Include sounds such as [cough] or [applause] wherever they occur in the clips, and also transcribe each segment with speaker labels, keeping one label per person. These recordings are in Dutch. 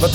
Speaker 1: Wat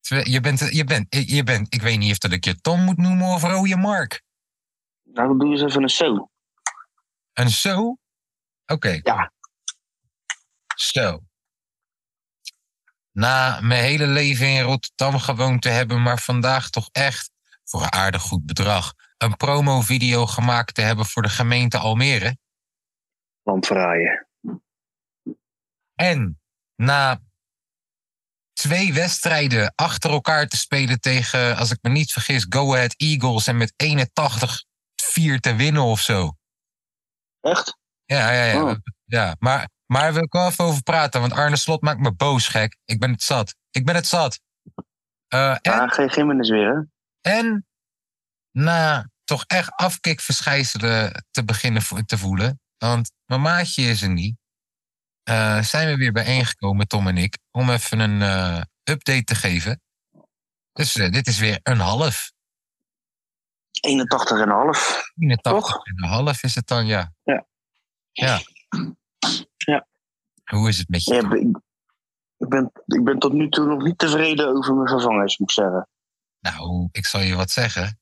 Speaker 2: Twe- Je bent, je, bent, je bent, ik weet niet of dat ik je Tom moet noemen of Rode Mark.
Speaker 3: Nou, doe eens even een zo.
Speaker 2: Een zo? Oké.
Speaker 3: Ja.
Speaker 2: Zo. Na mijn hele leven in Rotterdam gewoond te hebben, maar vandaag toch echt voor een aardig goed bedrag een promovideo gemaakt te hebben voor de gemeente Almere,
Speaker 3: Lampraaien.
Speaker 2: En na twee wedstrijden achter elkaar te spelen tegen, als ik me niet vergis, Go Ahead Eagles en met 81-4 te winnen of zo.
Speaker 3: Echt?
Speaker 2: Ja, ja, ja.
Speaker 3: Oh.
Speaker 2: ja maar, maar daar wil ik wel even over praten, want Arne Slot maakt me boos gek. Ik ben het zat. Ik ben het zat. Eh, en
Speaker 3: Ja, Ah, geen Gimmenis weer, hè?
Speaker 2: en na toch echt afkikverschijnselen te beginnen vo- te voelen, want mijn maatje is er niet, eh, zijn we weer bijeengekomen, Tom en ik, om even een eh, update te geven. Dus eh, dit is weer een half.
Speaker 3: 81,5.
Speaker 2: 81 en een half is het dan, ja.
Speaker 3: Ja.
Speaker 2: Ja.
Speaker 3: Ja.
Speaker 2: Hoe is het met je?
Speaker 3: Ja, ik, ik, ben, ik ben tot nu toe nog niet tevreden over mijn vervangers, moet ik zeggen.
Speaker 2: Nou, ik zal je wat zeggen.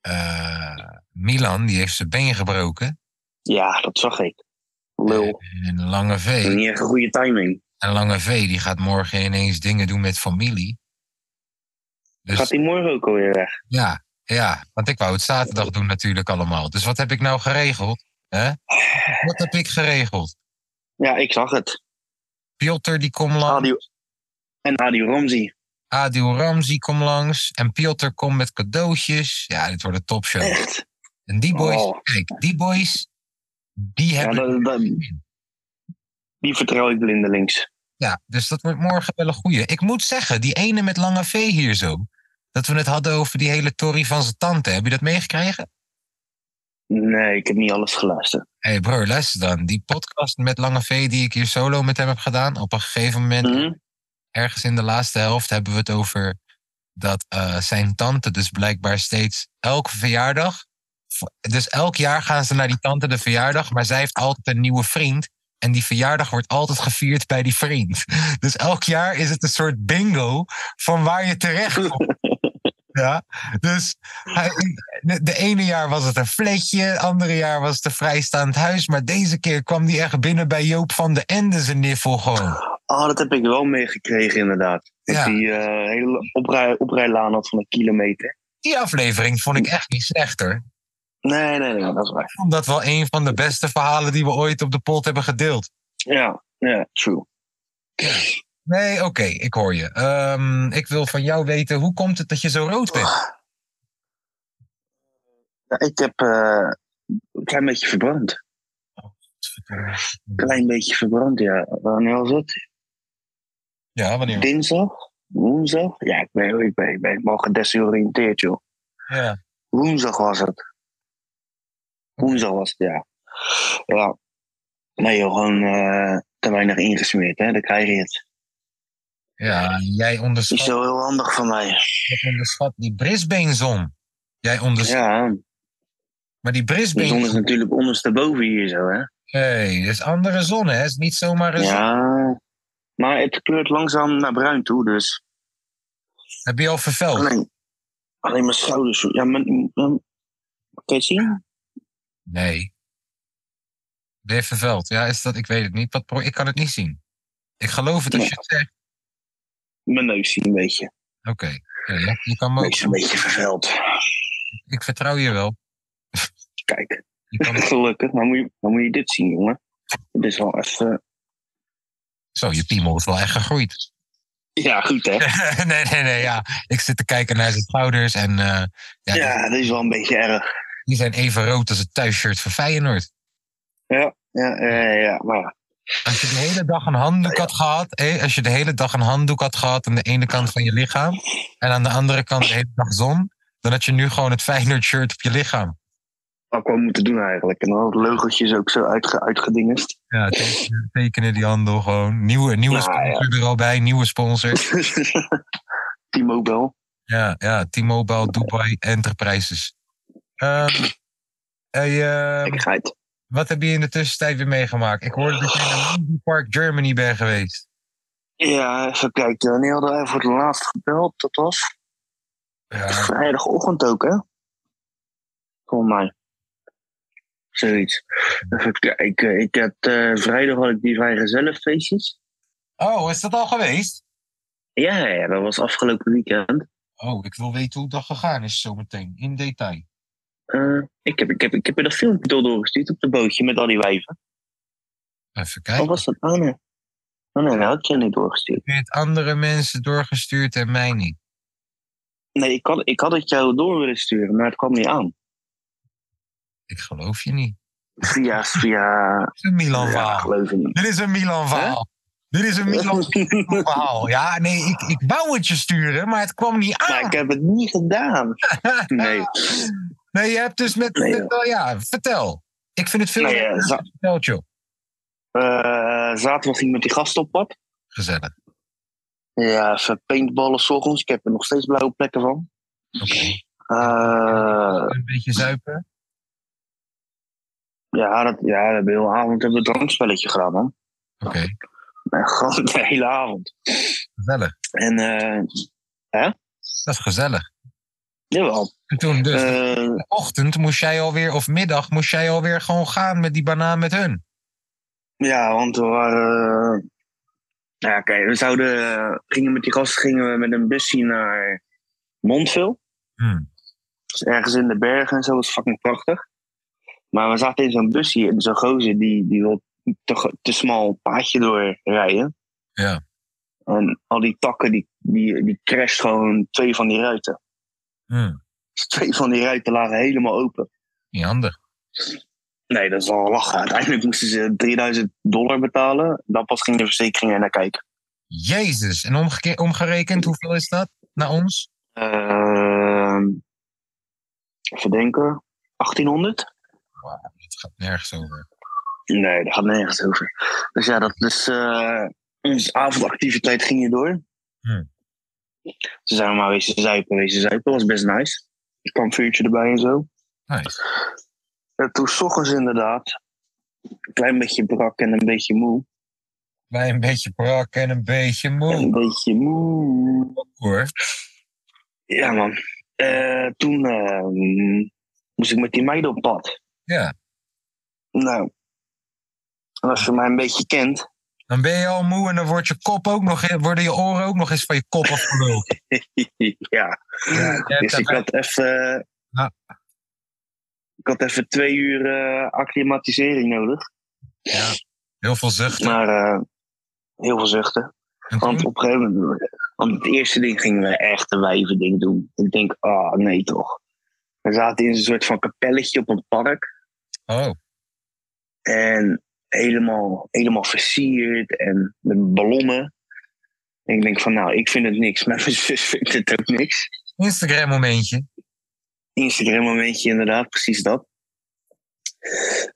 Speaker 2: Eh, Milan, die heeft zijn been gebroken.
Speaker 3: Ja, dat zag ik. Lul.
Speaker 2: En Lange V.
Speaker 3: Niet echt een goede timing.
Speaker 2: En Lange V die gaat morgen ineens dingen doen met familie. Dus
Speaker 3: Gaat die morgen ook alweer weg?
Speaker 2: ja, ja, want ik wou het zaterdag doen natuurlijk allemaal. Dus wat heb ik nou geregeld? hè? Wat heb ik geregeld?
Speaker 3: Ja, ik zag het.
Speaker 2: Piotr die
Speaker 3: Ah,
Speaker 2: komt langs,
Speaker 3: Adi en Adi Ramzi.
Speaker 2: Adil Ramzi komt langs en Piotr komt met cadeautjes. Ja, dit wordt een topshow.
Speaker 3: Echt.
Speaker 2: En die boys,
Speaker 3: Eh. Oh.
Speaker 2: kijk, die boys, die
Speaker 3: Ja,
Speaker 2: hebben...
Speaker 3: dat, dat- die vertrouw ik blindelings.
Speaker 2: Ja, dus dat wordt morgen wel een goeie. Ik moet zeggen, die ene met Lange V hier zo, dat we het hadden over die hele Tory van zijn tante. Heb je dat meegekregen?
Speaker 3: Nee, ik heb niet alles geluisterd.
Speaker 2: Hé hey bro, luister dan. Die podcast met Lange V die ik hier solo met hem heb gedaan. Op een gegeven moment,
Speaker 3: Mhm.
Speaker 2: ergens in de laatste helft, hebben we het over dat eh, zijn tante dus blijkbaar steeds elke verjaardag. voor- Dus elk jaar gaan ze naar die tante de verjaardag, maar zij heeft altijd een nieuwe vriend. En die verjaardag wordt altijd gevierd bij die vriend. [laughs] Dus elk jaar is het een soort bingo van waar je terecht komt. Ja, dus hij, de, de ene jaar was het een fletje, het andere jaar was het een vrijstaand huis. Maar deze keer kwam die echt binnen bij Joop van de Ende zijn niffel gewoon.
Speaker 3: Ah, dat heb ik wel meegekregen, inderdaad. Dat
Speaker 2: Ja.
Speaker 3: hij eh, een hele oprij, oprijlaan had van een kilometer.
Speaker 2: Die aflevering vond ik echt niet slechter.
Speaker 3: Nee, nee, nee, dat is waar.
Speaker 2: Ik vond dat wel een van de beste verhalen die we ooit op de pot hebben gedeeld.
Speaker 3: Ja, ja true.
Speaker 2: Nee, oké, ik hoor je. Ehm, ik wil van jou weten, hoe komt het dat je zo rood bent?
Speaker 3: Ja, ik heb eh, een klein beetje verbrand. Klein beetje verbrand, ja. Wanneer was het?
Speaker 2: Ja, wanneer?
Speaker 3: Dinsdag? Woensdag? Ja, ik ben, ik ben, ik ben helemaal gedesoriënteerd, joh.
Speaker 2: Ja.
Speaker 3: Woensdag was het. Woensdag was het, ja. Ja. Nee, joh, gewoon eh, te weinig ingesmeerd, hè. Dan krijg je het.
Speaker 2: ja, jij
Speaker 3: Niet
Speaker 2: onderschat,
Speaker 3: zo heel handig van mij.
Speaker 2: jij onderschat die Brisbane-zon. Jij onderschat,
Speaker 3: Ja,
Speaker 2: maar die
Speaker 3: de zon is
Speaker 2: Brisbane-zon
Speaker 3: natuurlijk ondersteboven hier zo, hè.
Speaker 2: hey, is andere zon, hè? is niet zomaar een zon.
Speaker 3: Ja. Maar het kleurt langzaam naar bruin toe, dus...
Speaker 2: Heb je al verveld?
Speaker 3: Alleen, alleen mijn schouders. Ja, mijn, mijn- kan je het zien?
Speaker 2: Nee. Ben je verveld? Ja, is dat, ik weet het niet. Wat, pro- ik kan het niet zien. Ik geloof het als je het zegt.
Speaker 3: Mijn neus zien een beetje.
Speaker 2: Oké, oké, ja, je kan me
Speaker 3: Mijn neus is een
Speaker 2: ook,
Speaker 3: beetje vervuild.
Speaker 2: ik vertrouw je wel.
Speaker 3: Kijk,
Speaker 2: Je
Speaker 3: [laughs]
Speaker 2: kan het-
Speaker 3: gelukkig. Dan moet, je, dan moet je dit zien, jongen. Dit is wel even...
Speaker 2: zo, je piemel is wel echt gegroeid. [laughs]
Speaker 3: Ja, goed hè?
Speaker 2: nee, nee, nee, ja. Ik zit te kijken naar zijn schouders en eh, ja,
Speaker 3: Ja, dit is wel een beetje erg.
Speaker 2: die zijn even rood als het thuisshirt van Feyenoord.
Speaker 3: Ja, ja, ja, ja, maar ja.
Speaker 2: Als je de hele dag een handdoek had gehad, hé, als je de hele dag een handdoek had gehad aan de ene kant van je lichaam en aan de andere kant de hele dag zon, dan had je nu gewoon het Feyenoord shirt op je lichaam.
Speaker 3: Wat ik wel moeten doen eigenlijk. En dan had het leugentjes ook zo uitge, uitgedingest. [laughs]
Speaker 2: Ja, tekenen, tekenen die handel gewoon. Nieuwe, nieuwe
Speaker 3: Nou, ja.
Speaker 2: sponsor er al bij, nieuwe sponsor.
Speaker 3: T-Mobile.
Speaker 2: Ja, ja T-Mobile, Dubai Enterprises. Ehm, hey, ehm,
Speaker 3: Gekkigheid.
Speaker 2: wat heb je in de tussentijd weer meegemaakt? Ik hoorde dat je naar Lindy Park, Germany bent geweest.
Speaker 3: Ja, even kijken. Wanneer hadden wij voor het laatst gebeld? Dat was
Speaker 2: Ja,
Speaker 3: vrijdagochtend ook, hè? Volgens mij. Zoiets. Even kijken. Ik had, eh, vrijdag had ik die vrijgezellenfeestjes.
Speaker 2: Oh, is dat al geweest?
Speaker 3: Ja, ja, dat was afgelopen weekend.
Speaker 2: Oh, ik wil weten hoe dat gegaan is zometeen, in detail.
Speaker 3: Eh, ik, heb, ik, heb, ik heb je dat filmpje door doorgestuurd op de bootje met al die wijven.
Speaker 2: Even
Speaker 3: Wat
Speaker 2: kijken.
Speaker 3: was dat? Oh nee. Oh nee, dat had je niet doorgestuurd.
Speaker 2: Je hebt andere mensen doorgestuurd en mij niet.
Speaker 3: Nee, ik had, ik had het jou door willen sturen, maar het kwam niet aan.
Speaker 2: Ik geloof je niet.
Speaker 3: Via, via...
Speaker 2: Dit is een Milan
Speaker 3: Ja,
Speaker 2: verhaal.
Speaker 3: geloof ik niet.
Speaker 2: Dit is een Milan verhaal. Dit is een Milan verhaal. Ja, nee, ik, ik wou het je sturen, maar het kwam niet
Speaker 3: Maar
Speaker 2: aan.
Speaker 3: ik heb het niet gedaan. Nee.
Speaker 2: Nee, je hebt dus met...
Speaker 3: Nee,
Speaker 2: met- oh ja, vertel. Ik vind het veel
Speaker 3: Nou ja,
Speaker 2: leuker
Speaker 3: za-
Speaker 2: als je vertelt, joh.
Speaker 3: Eh, zaterdag ging ik met die gast op pad.
Speaker 2: Gezellig.
Speaker 3: Ja, even paintballen 's ochtends. Ik heb er nog steeds blauwe plekken van.
Speaker 2: Oké.
Speaker 3: Eh,
Speaker 2: Een beetje zuipen.
Speaker 3: ja, dat, ja, we hebben de hele avond hebben we een drankspelletje gedaan, man.
Speaker 2: Oké,
Speaker 3: En gewoon de hele avond.
Speaker 2: gezellig.
Speaker 3: En eh
Speaker 2: Dat is gezellig.
Speaker 3: jawel.
Speaker 2: En toen dus...
Speaker 3: Eh,
Speaker 2: ochtend moest jij alweer, of middag, moest jij alweer gewoon gaan met die banaan met hun.
Speaker 3: ja, want we waren... eh, nou ja, kijk, we zouden, eh, gingen met die gasten gingen we met een busje naar Montville.
Speaker 2: Hmm.
Speaker 3: Dus ergens in de bergen en zo, dat is fucking prachtig. Maar we zaten in zo'n busje en zo'n gozer die, die wil te, gro- te smal paadje doorrijden.
Speaker 2: Ja.
Speaker 3: En al die takken, die, die, die crasht gewoon twee van die ruiten. [laughs]
Speaker 2: Hmm.
Speaker 3: Dus twee van die ruiten lagen helemaal open.
Speaker 2: Niet handig.
Speaker 3: Nee, dat is wel lachen. Uiteindelijk moesten ze 3000 dollar betalen. Dan pas ging de verzekering er naar kijken.
Speaker 2: Jezus, en omgeke- omgerekend, hoeveel is dat naar ons?
Speaker 3: Ehm even denken. 1800?
Speaker 2: Wauw, dat gaat nergens over.
Speaker 3: Nee, daar gaat nergens over. Dus ja, dat is. eh, onze avondactiviteit ging hier door.
Speaker 2: Hmm.
Speaker 3: Ze zijn maar wezen zuipen, wezen zuipen. Was best nice. Er kwam vuurtje erbij en zo.
Speaker 2: Nice.
Speaker 3: En toen, 's ochtends inderdaad. Een klein beetje brak en een beetje moe.
Speaker 2: Wij een beetje brak en een beetje
Speaker 3: Een
Speaker 2: moe,
Speaker 3: beetje moe.
Speaker 2: hoor.
Speaker 3: Ja, man. Eh, toen eh, moest ik met die meiden op pad.
Speaker 2: Ja.
Speaker 3: Nou. En als je mij een beetje kent.
Speaker 2: Dan ben je al moe en dan wordt je kop ook nog, worden je oren ook nog eens van je kop afgeluld.
Speaker 3: ja.
Speaker 2: Je hebt
Speaker 3: Dus ik
Speaker 2: daarbij-
Speaker 3: had even.
Speaker 2: Ja.
Speaker 3: Ik had even twee uur eh, acclimatisering nodig.
Speaker 2: ja, heel veel zuchten.
Speaker 3: Maar eh, heel veel zuchten.
Speaker 2: En toen-
Speaker 3: Want op een gegeven moment. Want het eerste ding gingen we echt een wijvending doen. Ik denk, ah nee toch. We zaten in een soort van kapelletje op een park.
Speaker 2: oh,
Speaker 3: En helemaal, helemaal versierd en met ballonnen. En ik denk van, nou, ik vind het niks. [laughs] Mijn zus vindt het ook niks.
Speaker 2: Instagram momentje.
Speaker 3: Instagram momentje, inderdaad, precies dat.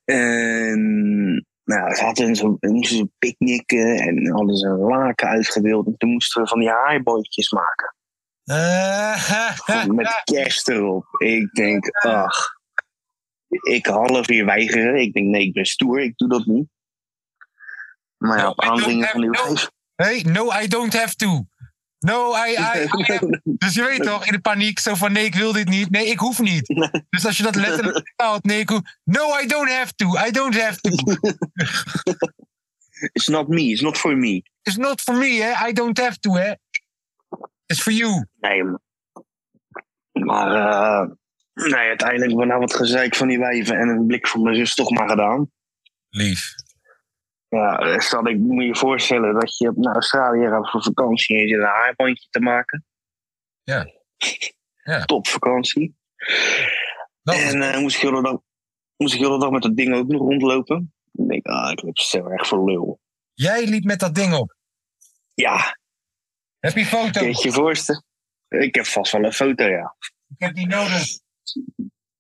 Speaker 3: En nou, ze hadden zo, we moesten ze picknicken en hadden ze laken uitgedeeld. En toen moesten we van die haaibootjes maken.
Speaker 2: Eh, [laughs]
Speaker 3: [laughs] Met kerst erop. Ik denk, ach. Ik half uur weigeren. Ik denk, nee, ik ben stoer, ik doe dat niet. Maar ja, op
Speaker 2: No, I don't
Speaker 3: aandringen
Speaker 2: have
Speaker 3: van die
Speaker 2: no- hey, no, I don't have to. No, I, I,
Speaker 3: [laughs]
Speaker 2: I am Dus je weet toch, in de paniek, zo van nee, ik wil dit niet. Nee, ik hoef niet. Dus als je dat
Speaker 3: [laughs]
Speaker 2: letterlijk vertaalt, nee, ik hoef... No, I don't have to. I don't have to.
Speaker 3: It's not me, it's not for me.
Speaker 2: It's not for me, hè. I don't have to, hè. It's for you.
Speaker 3: Nee, maar- maar eh, nee, uiteindelijk ben nou wat gezeik van die wijven en een blik van mijn zus toch maar gedaan.
Speaker 2: Lief.
Speaker 3: Ja, eh, stel ik moet je voorstellen dat je naar Australië gaat voor vakantie en je zit een haarbandje te maken. [laughs]
Speaker 2: Ja. Ja.
Speaker 3: Top vakantie.
Speaker 2: Dat
Speaker 3: en
Speaker 2: is-
Speaker 3: eh, moest, ik heel de dag, moest ik heel de dag met dat ding ook nog rondlopen. Ik denk, ah, ik loop zo erg voor lul.
Speaker 2: Jij liep met dat ding op.
Speaker 3: Ja,
Speaker 2: Heb je foto?
Speaker 3: kun je het je voorstellen? Ik heb vast wel een foto, ja.
Speaker 2: Ik heb die nodig.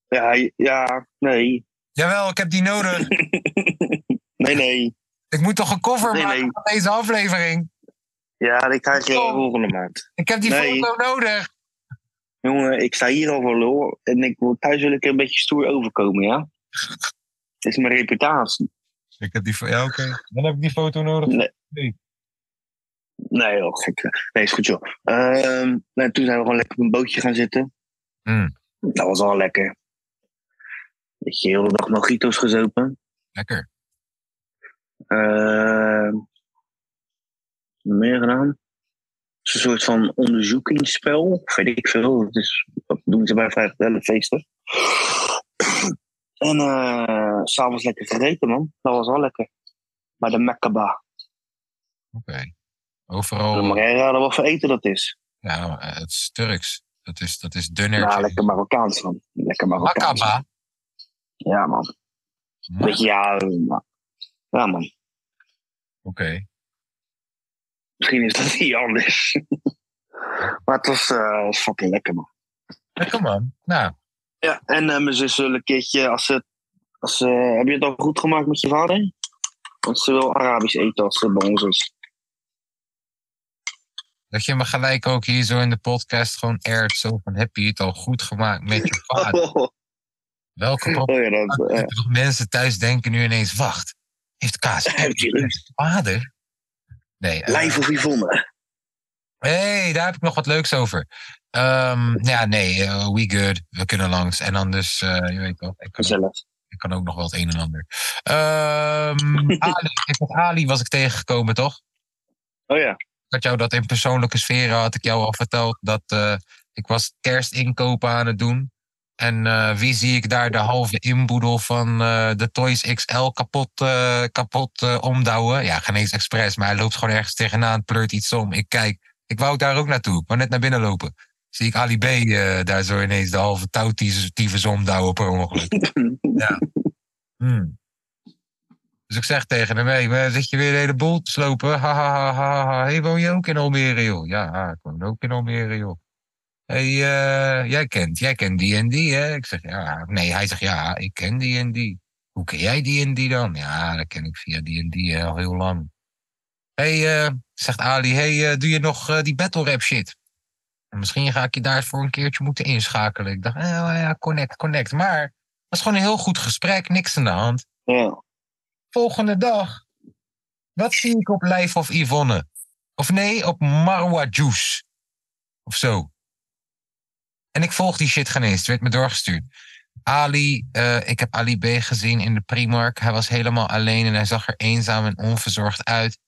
Speaker 3: Ja, ja nee.
Speaker 2: Jawel, ik heb die
Speaker 3: [laughs]
Speaker 2: nodig.
Speaker 3: Nee, nee.
Speaker 2: Ik moet toch een cover
Speaker 3: Nee,
Speaker 2: maken
Speaker 3: nee.
Speaker 2: van deze aflevering?
Speaker 3: Ja, die krijg je
Speaker 2: Oh.
Speaker 3: volgende maand.
Speaker 2: Ik heb die
Speaker 3: Nee.
Speaker 2: foto nodig.
Speaker 3: Jongen, ik sta hier al voor lul. En ik, wil- thuis wil ik een beetje stoer overkomen, ja? Het is mijn reputatie.
Speaker 2: Ik heb die fo- ja, oké. Dan heb ik die foto nodig.
Speaker 3: Nee, joh, gek. Nee, is goed, joh. Ehm, nou, toen zijn we gewoon lekker op een bootje gaan zitten.
Speaker 2: Mm.
Speaker 3: Dat was al lekker. Weet je, heel de dag mojito's gezopen.
Speaker 2: Lekker.
Speaker 3: Ehm, wat meer gedaan. Het is een soort van onderzoekingsspel. Weet ik veel. Dat, is, dat doen ze bij vrijgezellenfeesten. En eh, s s'avonds lekker gegeten, man. Dat was wel lekker. Bij de Mekkaba.
Speaker 2: Oké.
Speaker 3: Oh.
Speaker 2: Overal.
Speaker 3: Mag jij raden wat voor eten dat is?
Speaker 2: Ja, eh, het is Turks. Dat is, dat is dunner.
Speaker 3: Nou, lekker Marokkaans, man. Lekker Marokkaans.
Speaker 2: Akaba.
Speaker 3: Ja, man.
Speaker 2: Hm,
Speaker 3: Weet
Speaker 2: Oké.
Speaker 3: je, ja, eh, ja, man. Misschien is dat [laughs] niet anders. maar het was eh, was fucking lekker, man.
Speaker 2: Lekker man. Nou,
Speaker 3: Ja, en eh, mijn zus wil een keertje, als ze, als ze, heb je het al goed gemaakt met je vader? Want ze wil Arabisch eten als ze bij ons is.
Speaker 2: dat je me gelijk ook hier zo in de podcast gewoon airt. Zo van, heb je het al goed gemaakt met
Speaker 3: [laughs]
Speaker 2: je
Speaker 3: Oh,
Speaker 2: vader? Welke podcast?
Speaker 3: ja, dat, eh,
Speaker 2: dat Mensen thuis denken nu ineens, wacht. Heeft Kaas
Speaker 3: Heeft hij
Speaker 2: echt vader? Nee. eh,
Speaker 3: Lijf of Yvonne.
Speaker 2: hey, daar heb ik nog wat leuks over. Ehm, ja, nee, eh, we good. We kunnen langs. En anders, eh, je weet wel. Ik kan
Speaker 3: Gezellig.
Speaker 2: Ik kan ook nog wel het een en ander. Ehm, Ali, ik had Ali was ik tegengekomen, toch?
Speaker 3: Oh ja.
Speaker 2: Ik had jou dat in persoonlijke sferen had ik jou al verteld. Dat eh, ik was kerstinkopen aan het doen. En eh, wie zie ik daar de halve inboedel van eh, de Toys XL kapot, eh, kapot eh, omdouwen? Ja, geen eens expres, maar hij loopt gewoon ergens tegenaan, pleurt iets om. Ik kijk, ik wou daar ook naartoe. Ik wou net naar binnen lopen. Zie ik Ali B eh, daar zo ineens de halve touwtyfus omdouwen per ongeluk. Hmm. Dus ik zeg tegen hem, hey, waar zit je weer de hele boel te slopen? Ha, ha, ha, ha, ha. Hey, woon je ook in Almere, joh? Ja, ha, ik woon ook in Almere, joh. hey, eh, jij, kent, jij kent die en die, hè? Ik zeg, ja. Nee, hij zegt, ja, ik ken die en die. Hoe ken jij die en die dan? Ja, dat ken ik via die en die hè, al heel lang. hey, eh, zegt Ali, hey, eh, doe je nog eh, die battle rap shit? Misschien ga ik je daarvoor een keertje moeten inschakelen. Ik dacht, eh, ja, connect, connect. Maar het was gewoon een heel goed gesprek, niks aan de hand
Speaker 3: Ja.
Speaker 2: volgende dag. Wat zie ik op Life of Yvonne? Of nee, op Marwa Juice. Of zo. En ik volg die shit geen eens. Het werd me doorgestuurd. Ali, eh, ik heb Ali B gezien in de Primark. Hij was helemaal alleen en hij zag er eenzaam en onverzorgd uit.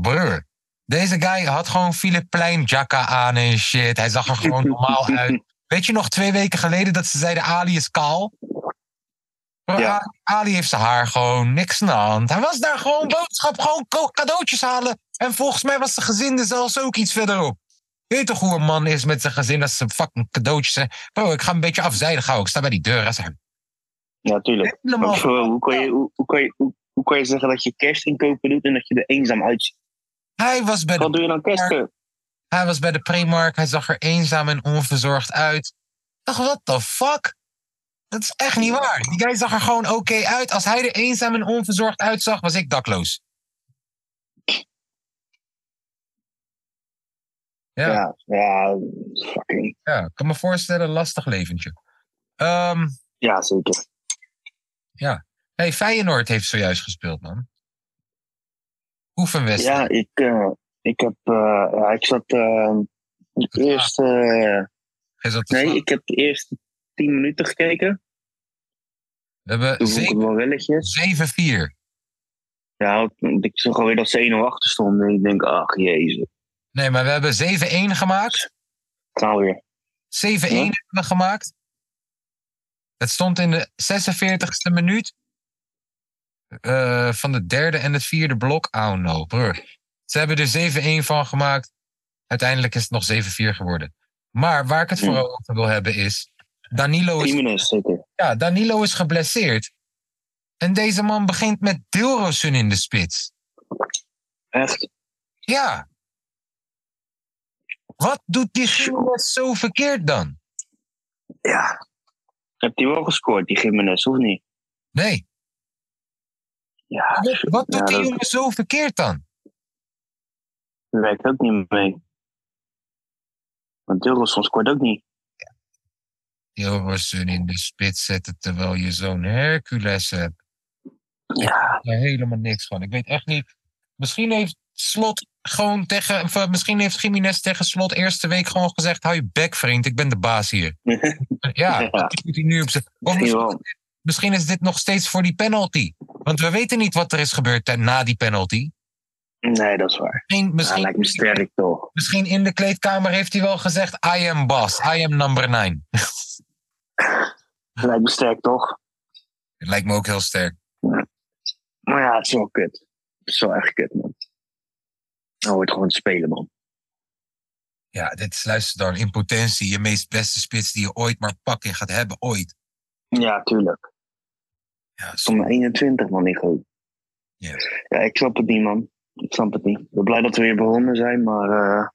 Speaker 2: Broer, deze guy had gewoon Filipijn jacka aan en shit. Hij zag er gewoon normaal uit. Weet je nog twee weken geleden dat ze zeiden Ali is kaal? Bro,
Speaker 3: Ja.
Speaker 2: Ali- Ali heeft zijn haar gewoon, niks aan de hand. Hij was daar gewoon boodschap, gewoon ko- cadeautjes halen. En volgens mij was zijn gezin er zelfs ook iets verderop. Je Weet toch hoe een man is met zijn gezin als ze fucking cadeautjes zijn? Bro, ik ga een beetje afzijdig houden. Ik sta bij die deur. Hij zei,
Speaker 3: [laughs] ja, tuurlijk.
Speaker 2: helemaal
Speaker 3: Ook zo, hoe, kan je, hoe, hoe, kan je, hoe, hoe kan je zeggen dat je kerstinkopen doet en dat je er eenzaam uitziet?
Speaker 2: Hij was bij de
Speaker 3: Wat doe je dan kersten?
Speaker 2: Hij was bij de Primark, hij zag er eenzaam en onverzorgd uit. Ik dacht, what the fuck? Dat is echt niet waar. Die guy zag er gewoon oké uit. Als hij er eenzaam en onverzorgd uitzag, was ik dakloos. Ja.
Speaker 3: Ja, ja, fucking.
Speaker 2: Ja, ik kan me voorstellen, lastig leventje. Ehm
Speaker 3: Ja, zeker.
Speaker 2: hey, Feyenoord heeft zojuist gespeeld, man. Oefenwedstrijd.
Speaker 3: Ja, ik, eh, ik heb, eh, ja, ik zat eh, de eerste, eh,
Speaker 2: Is dat de
Speaker 3: nee,
Speaker 2: vraag?
Speaker 3: ik heb de eerste tien minuten gekeken.
Speaker 2: We hebben
Speaker 3: Toen vond ik het wel welletjes.
Speaker 2: ze- 7-4.
Speaker 3: Ja, want ik zag alweer dat ze 1-0 achter stonden. En ik denk, ach jezus,
Speaker 2: Nee, maar we hebben 7-1 gemaakt. 7-1
Speaker 3: gaan we weer. Ja.
Speaker 2: hebben we gemaakt. Het stond in de 46e minuut eh, van de derde en het vierde blok. Oh no, broer. Ze hebben er 7-1 van gemaakt. Uiteindelijk is het nog 7-4 geworden. Maar waar ik het
Speaker 3: Hm.
Speaker 2: vooral over wil hebben is... Danilo is,
Speaker 3: Tien minuten zeker.
Speaker 2: ja, Danilo is geblesseerd. En deze man begint met Dilrosun in de spits.
Speaker 3: Echt.
Speaker 2: Ja. Wat doet die Gimenez zo verkeerd dan?
Speaker 3: Ja. Hebt hij wel gescoord, die Gimenez, of niet?
Speaker 2: Nee.
Speaker 3: Ja,
Speaker 2: Wat, wat doet
Speaker 3: Ja,
Speaker 2: die
Speaker 3: dat-
Speaker 2: jongen zo verkeerd dan?
Speaker 3: dat werkt ook niet mee. Want Dilrosun scoort ook niet.
Speaker 2: Dilrosun in de spits zetten terwijl je zo'n Hercules hebt.
Speaker 3: Ja,
Speaker 2: er helemaal niks van. Ik weet echt niet. Misschien heeft Slot gewoon tegen. of, eh, misschien heeft Jiménez tegen Slot eerste week gewoon gezegd: hou je bek, vriend, ik ben de baas
Speaker 3: [laughs]
Speaker 2: hier. ja,
Speaker 3: Ja.
Speaker 2: dat moet hij nu op zijn. Of
Speaker 3: misschien
Speaker 2: misschien,
Speaker 3: wel.
Speaker 2: misschien is dit nog steeds voor die penalty. Want we weten niet wat er is gebeurd ten- na die penalty.
Speaker 3: Nee, dat is waar.
Speaker 2: Misschien,
Speaker 3: Hij
Speaker 2: misschien,
Speaker 3: lijkt me sterk, toch?
Speaker 2: misschien in de kleedkamer heeft hij wel gezegd: I am boss, I am number nine.
Speaker 3: Hij lijkt me sterk, toch?
Speaker 2: Dat lijkt me ook heel sterk.
Speaker 3: Maar ja, het is wel kut. Het is wel echt kut, man. Hij hoort gewoon te spelen, man.
Speaker 2: Ja, dit is luister dan in potentie je meest beste spits die je ooit maar pakken gaat hebben, ooit.
Speaker 3: Ja, tuurlijk.
Speaker 2: Ja,
Speaker 3: Tot mijn 21, man, ik hoop.
Speaker 2: Ja.
Speaker 3: Ja, ik snap het niet, man. Ik snap het niet. Ik ben blij dat we weer begonnen zijn, maar... eh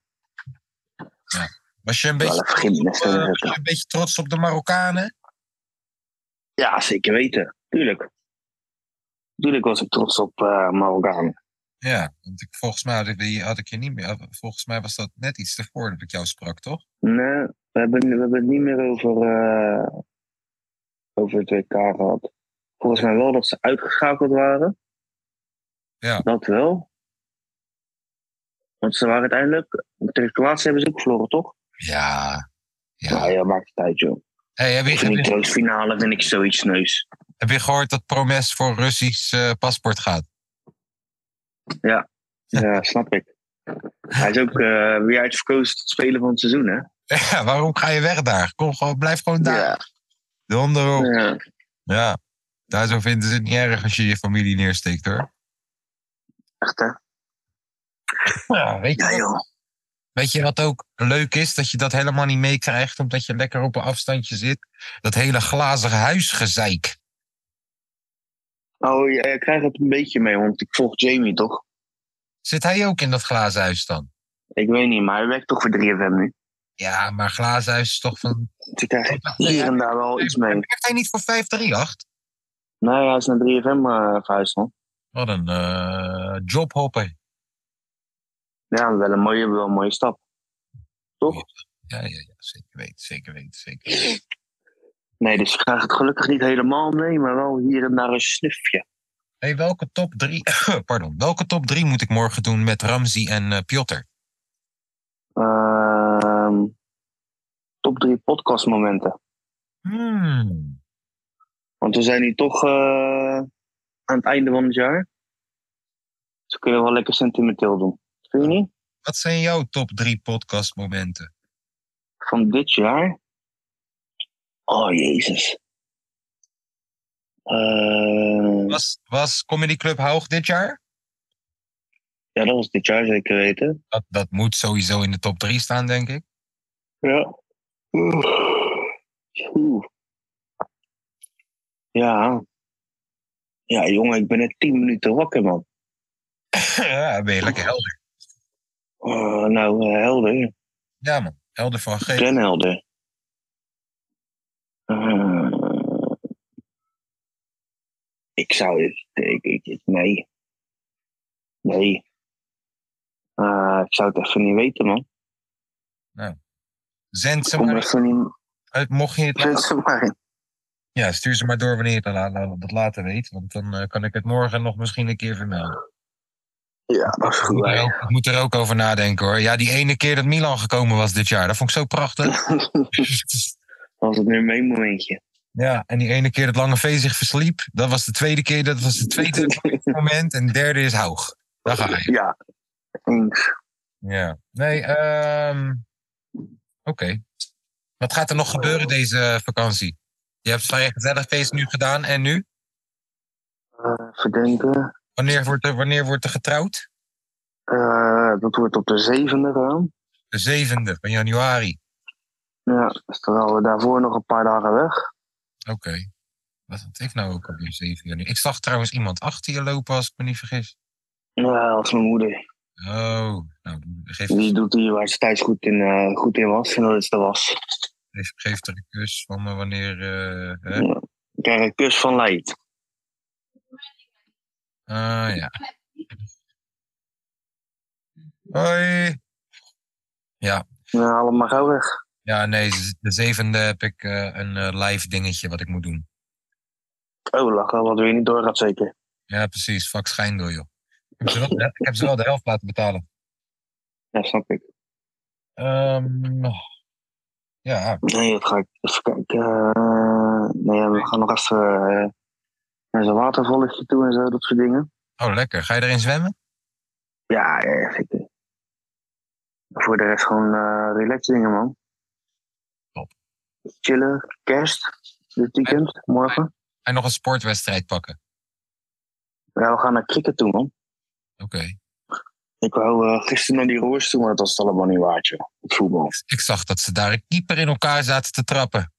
Speaker 2: Was je een
Speaker 3: wel
Speaker 2: beetje,
Speaker 3: even Jiménez
Speaker 2: eh,
Speaker 3: erin
Speaker 2: was je
Speaker 3: zetten.
Speaker 2: een beetje trots op de Marokkanen?
Speaker 3: Ja, zeker weten. Tuurlijk. Tuurlijk was ik trots op eh Marokkaan.
Speaker 2: Ja, want ik, volgens mij had ik, die- had ik je niet meer. Volgens mij was dat net iets tevoren dat ik jou sprak, toch?
Speaker 3: Nee, we hebben, we hebben het niet meer over, eh, over het WK gehad. Volgens mij wel dat ze uitgeschakeld waren.
Speaker 2: Ja.
Speaker 3: Dat wel. Want ze waren uiteindelijk... Tegen Kroatië hebben ze ook verloren, toch?
Speaker 2: Ja. ja.
Speaker 3: Ja, ja maakt het uit, joh.
Speaker 2: Hey, heb, je,
Speaker 3: Of in
Speaker 2: heb,
Speaker 3: die
Speaker 2: je,
Speaker 3: troostfinale vind ik zoiets neus.
Speaker 2: heb je gehoord dat Promes voor Russisch eh, paspoort gaat? [laughs]
Speaker 3: Ja, snap ik. Hij is ook eh, weer uitverkozen tot speler van het seizoen, hè?
Speaker 2: Ja, waarom ga je weg daar? Kom gewoon, blijf gewoon daar.
Speaker 3: Ja.
Speaker 2: Donder op.
Speaker 3: ja.
Speaker 2: Ja. Daar zo vinden ze het niet erg als je je familie neersteekt, hoor.
Speaker 3: Echt, hè?
Speaker 2: Ja, weet
Speaker 3: Ja,
Speaker 2: je,
Speaker 3: joh.
Speaker 2: Weet je wat ook leuk is? Dat je dat helemaal niet meekrijgt, omdat je lekker op een afstandje zit. Dat hele glazige huisgezeik.
Speaker 3: Oh, ja, ik krijg het een beetje mee, want ik volg Jamie toch?
Speaker 2: Zit hij ook in dat glazen huis dan?
Speaker 3: Ik weet niet, maar hij werkt toch voor 3FM nu.
Speaker 2: Ja, maar glazen huis is toch van...
Speaker 3: Dus ik krijg hier en daar wel iets mee.
Speaker 2: Werkt hij niet voor 538?
Speaker 3: Nou ja, hij is naar 3FM eh verhuisd, man.
Speaker 2: Wat een eh, jobhopper.
Speaker 3: Ja, wel een mooie, wel een mooie stap. Toch?
Speaker 2: Ja, ja, ja, zeker weten, zeker weten, zeker weten.
Speaker 3: Nee, dus ik krijg het gelukkig niet helemaal mee, maar wel hier en daar een snufje.
Speaker 2: Hey, welke top 3 [coughs] pardon, welke top 3 moet ik morgen doen met Ramzi en eh Piotr?
Speaker 3: Ehm top drie podcastmomenten.
Speaker 2: Hmm,
Speaker 3: Want we zijn nu toch eh, aan het einde van het jaar. Dus we kunnen wel lekker sentimenteel doen. Vind je niet?
Speaker 2: wat zijn jouw top 3 podcastmomenten?
Speaker 3: Van dit jaar. Oh, jezus. Eh,
Speaker 2: Was, was Comedy Club Haug dit jaar?
Speaker 3: ja, dat was dit jaar zeker weten.
Speaker 2: Dat, dat moet sowieso in de top 3 staan, denk ik. [laughs]
Speaker 3: Ja. Oeh. Oeh. Ja. Ja, jongen, ik ben net 10 minuten wakker, man.
Speaker 2: ja, ben je lekker helder.
Speaker 3: Eh, nou, eh, helder.
Speaker 2: Ja, man. Helder van
Speaker 3: Ik
Speaker 2: geest.
Speaker 3: ben helder. Eh, ik zou het. Ik, ik, ik- nee. Nee. Eh, ik zou het even niet weten, man.
Speaker 2: Zend ze
Speaker 3: Ik kom
Speaker 2: maar
Speaker 3: even niet.
Speaker 2: uit, mocht je het
Speaker 3: Zet ze maar in.
Speaker 2: Ja, stuur ze maar door wanneer je het la- la- dat later weet. Want dan eh, kan ik het morgen nog misschien een keer vermelden.
Speaker 3: Ja, dat is
Speaker 2: Ik moet,
Speaker 3: goed.
Speaker 2: er
Speaker 3: hè.
Speaker 2: ook, ik moet er ook over nadenken hoor. Ja, die ene keer dat Milan gekomen was dit jaar. Dat vond ik zo prachtig.
Speaker 3: Dat was het nu mijn momentje.
Speaker 2: ja, en die ene keer dat Lange V zich versliep. Dat was de tweede keer. Dat was de
Speaker 3: [laughs]
Speaker 2: tweede moment. En de derde is Haug. Daar ga je.
Speaker 3: ja. Eens.
Speaker 2: Ja. Nee, ehm Oké. Wat gaat er nog gebeuren deze eh, vakantie? Je hebt vrijgezellig feest nu gedaan. En nu?
Speaker 3: Eh, verdenken.
Speaker 2: Wanneer wordt er, wanneer wordt er getrouwd?
Speaker 3: Eh, dat wordt op de zevende gedaan.
Speaker 2: De zevende van januari.
Speaker 3: Ja, dus terwijl we daarvoor nog een paar dagen weg.
Speaker 2: Oké. Wat had ik nou ook alweer 7 juni? Ik zag trouwens iemand achter je lopen, als ik me niet vergis.
Speaker 3: Nou, als mijn moeder.
Speaker 2: Oh, nou, geef,
Speaker 3: Die doet hier waar ze thuis goed in, eh, goed in was. En dat is de was.
Speaker 2: geef, geef er een kus van me wanneer... eh, hè?
Speaker 3: Ja. Ik krijg een kus van Leid.
Speaker 2: Ah, ja. Hoi.
Speaker 3: Nou, allemaal gauw weg.
Speaker 2: Ja, nee, z- de zevende heb ik eh, een eh, live dingetje wat ik moet doen.
Speaker 3: Oh, lachen, wat weer niet doorgaat zeker.
Speaker 2: Ja, precies. Fuck schijndoor, joh. Ik heb ze wel, ik heb ze wel de helft laten betalen.
Speaker 3: Ja, snap ik.
Speaker 2: Ehm, ja,
Speaker 3: Nee, dat ga ik even kijken. Eh, nee, ja, we gaan nog even eh, naar zo'n watervalletje toe en zo, dat soort dingen.
Speaker 2: oh lekker. Ga je erin zwemmen?
Speaker 3: Ja, ja, ja, zeker. Voor de rest gewoon eh relax dingen, man.
Speaker 2: Top.
Speaker 3: Chillen, kerst, dit weekend, morgen.
Speaker 2: En nog een sportwedstrijd pakken.
Speaker 3: Ja, we gaan naar cricket toe, man.
Speaker 2: Oké.
Speaker 3: Ik wou eh, gisteren naar die roers toe, maar dat was het allemaal niet waard, joh. Het voetbal.
Speaker 2: Ik zag dat ze daar een keeper in elkaar zaten te trappen.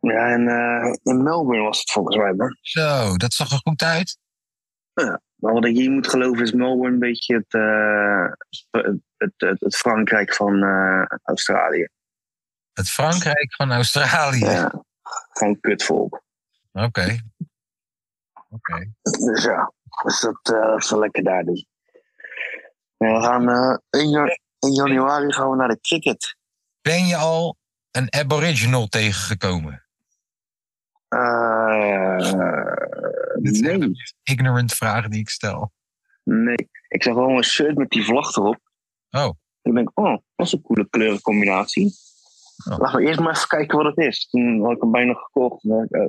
Speaker 3: Ja, en eh, in Melbourne was het volgens mij, man.
Speaker 2: Zo, dat zag er goed uit.
Speaker 3: Maar wat ik hier moet geloven is Melbourne een beetje het, eh, het, het, het, het Frankrijk van eh, Australië.
Speaker 2: Het Frankrijk van Australië.
Speaker 3: Ja, gewoon kutvolk.
Speaker 2: Oké. Oké.
Speaker 3: Dus ja, dus dat eh, dat zal lekker daar doen. En we gaan eh, in, ja- in januari gaan we naar de cricket.
Speaker 2: Ben je al een aboriginal tegengekomen?
Speaker 3: Eh,
Speaker 2: Dit is
Speaker 3: nee,
Speaker 2: Ignorant vraag die ik stel.
Speaker 3: nee. Ik zag wel een shirt met die vlag erop.
Speaker 2: Oh.
Speaker 3: Ik denk, oh, dat is een coole kleurencombinatie.
Speaker 2: Oh.
Speaker 3: Laten we eerst maar even kijken wat het is. Toen had ik hem bijna gekocht. maar, eh,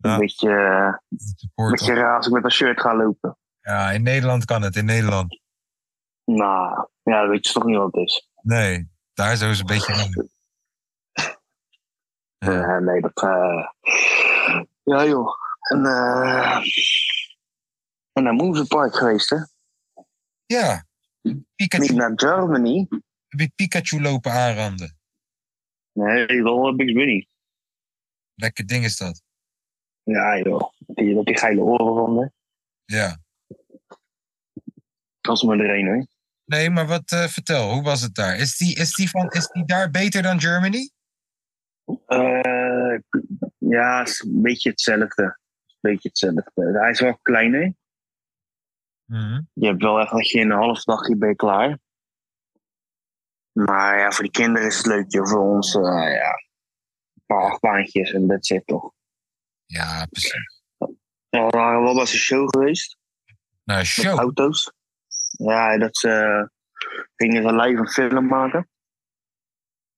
Speaker 2: Ja.
Speaker 3: Een beetje, eh, een
Speaker 2: Support
Speaker 3: beetje raar als ik met dat shirt ga lopen.
Speaker 2: Ja, in Nederland kan het, in Nederland.
Speaker 3: Nou, ja, dan weet je toch niet wat het is.
Speaker 2: Nee, daar zo is een beetje. eng. Ja.
Speaker 3: Eh, nee, dat. eh, Ja, joh. En, eh en naar Movie Park geweest, hè?
Speaker 2: Ja.
Speaker 3: Niet
Speaker 2: Pikachu,
Speaker 3: naar Germany.
Speaker 2: heb je Pikachu lopen aanranden?
Speaker 3: Nee, wel eh, Bugs Bunny.
Speaker 2: Lekker ding is dat.
Speaker 3: Ja, joh. Die, dat die geile oren van, hè?
Speaker 2: Ja.
Speaker 3: Dat is maar er één, hè?
Speaker 2: Nee, maar wat eh, vertel, hoe was het daar? Is die, is, die van, is die daar beter dan Germany?
Speaker 3: Eh, ja, is een beetje hetzelfde. Een beetje hetzelfde. Hij is wel kleiner. Je hebt wel echt dat je in een half dagje ben je klaar. Maar ja, voor die kinderen is het leuk, joh. Voor ons, eh, ja. Een paar achtbaantjes en dat zit toch.
Speaker 2: Ja, precies.
Speaker 3: Ja, we waren wel bij zijn show geweest.
Speaker 2: Nou,
Speaker 3: Met
Speaker 2: show.
Speaker 3: auto's. Ja, dat ze eh, gingen ze live een film maken.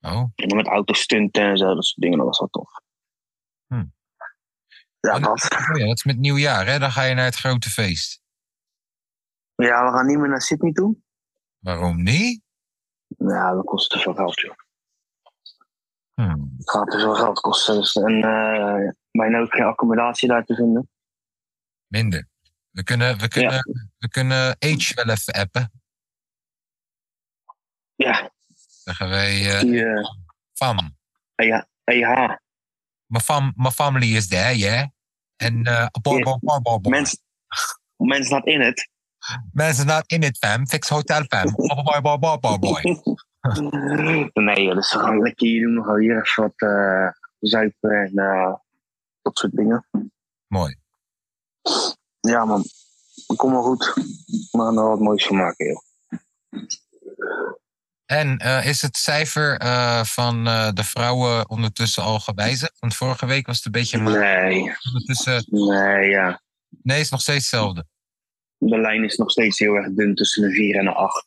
Speaker 2: Oh,
Speaker 3: En dan met auto's stunten en zo, dat soort dingen. Dat was wel tof.
Speaker 2: Hm.
Speaker 3: Ja,
Speaker 2: En-
Speaker 3: dat.
Speaker 2: oh ja, dat is met nieuwjaar, hè? Dan ga je naar het grote feest.
Speaker 3: Ja, we gaan niet meer naar Sydney toe.
Speaker 2: Waarom niet?
Speaker 3: Ja, dat kost te veel geld, joh.
Speaker 2: Hm.
Speaker 3: Het gaat te veel geld kosten. Dus, en eh bijna ook geen accommodatie daar te vinden.
Speaker 2: Minder. We kunnen, we kunnen, we kunnen Age wel even appen.
Speaker 3: Ja,
Speaker 2: Zeggen wij, eh
Speaker 3: die eh,
Speaker 2: fam.
Speaker 3: EH. EH.
Speaker 2: Mijn fam, mijn family is there, yeah. En eh boy, boy, boy, boy, boy.
Speaker 3: Mens, mens not in het.
Speaker 2: mensen not in it, fam. Fix hotel,
Speaker 3: [laughs]
Speaker 2: fam. Boy, boy, boy, boy, boy, boy.
Speaker 3: nee, joh, dus we gaan lekker hier doen. We gaan hier even wat eh, zuipen en eh, dat soort dingen.
Speaker 2: Mooi.
Speaker 3: Ja, man. Kom maar goed. We gaan er wat moois van maken, joh.
Speaker 2: En eh, is het cijfer eh, van eh, de vrouwen ondertussen al gewijzigd? Want vorige week was het een beetje... maar
Speaker 3: Nee,
Speaker 2: Ondertussen,
Speaker 3: nee, ja.
Speaker 2: nee, is nog steeds hetzelfde.
Speaker 3: De lijn is nog steeds heel erg dun tussen de 4 en de 8.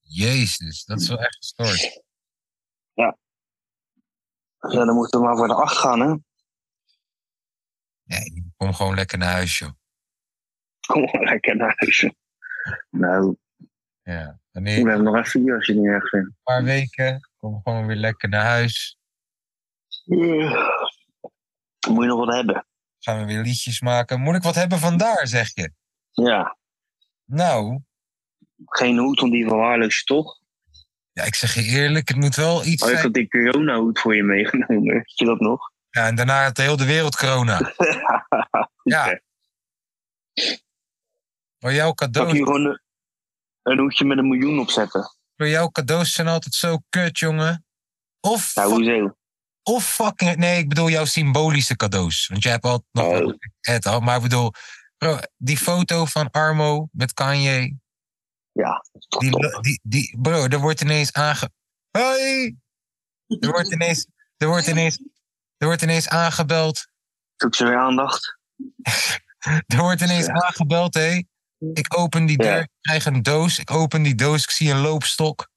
Speaker 2: Jezus, dat is wel echt gestoord.
Speaker 3: Ja, dan moeten we maar voor de 8 gaan, hè.
Speaker 2: Kom gewoon lekker naar huis, joh.
Speaker 3: Kom maar lekker naar huis. Nou,
Speaker 2: Ja.
Speaker 3: we
Speaker 2: Wanneer, een
Speaker 3: hebben nog even hier als je het niet erg vindt.
Speaker 2: paar weken, kom gewoon weer lekker naar huis.
Speaker 3: Eh, Moet je nog wat hebben?
Speaker 2: Gaan we weer liedjes maken. Moet ik wat hebben vandaar, zeg je?
Speaker 3: Ja,
Speaker 2: Nou,
Speaker 3: geen hoed, want die verwaarloos je toch?
Speaker 2: ja, ik zeg je eerlijk, het moet wel iets
Speaker 3: Oh, ik
Speaker 2: zijn.
Speaker 3: had die corona-hoed voor je meegenomen. Weet je dat nog?
Speaker 2: Ja, en daarna had heel de wereld corona. ja. Maar jouw
Speaker 3: Kan ik hier
Speaker 2: cadeaus,
Speaker 3: gewoon een, een hoedje met een miljoen opzetten?
Speaker 2: maar jouw cadeaus zijn altijd zo kut, jongen. Of,
Speaker 3: Nou,
Speaker 2: fuck-
Speaker 3: hoezo?
Speaker 2: of fucking... Nee, ik bedoel jouw symbolische cadeaus. Want jij hebt altijd nog wel
Speaker 3: Oh.
Speaker 2: het al. Maar ik bedoel, bro, die foto van Armo met Kanye.
Speaker 3: Ja, dat is toch top.
Speaker 2: Die, die, die, bro, er wordt ineens aange... Hoi! Er wordt ineens... Er wordt ineens, er wordt ineens aangebeld.
Speaker 3: Zoek ze weer aandacht?
Speaker 2: Er wordt ineens
Speaker 3: Ja.
Speaker 2: aangebeld, hé. Ik open die
Speaker 3: Ja.
Speaker 2: deur, ik krijg een doos. Ik open die doos, ik zie een loopstok.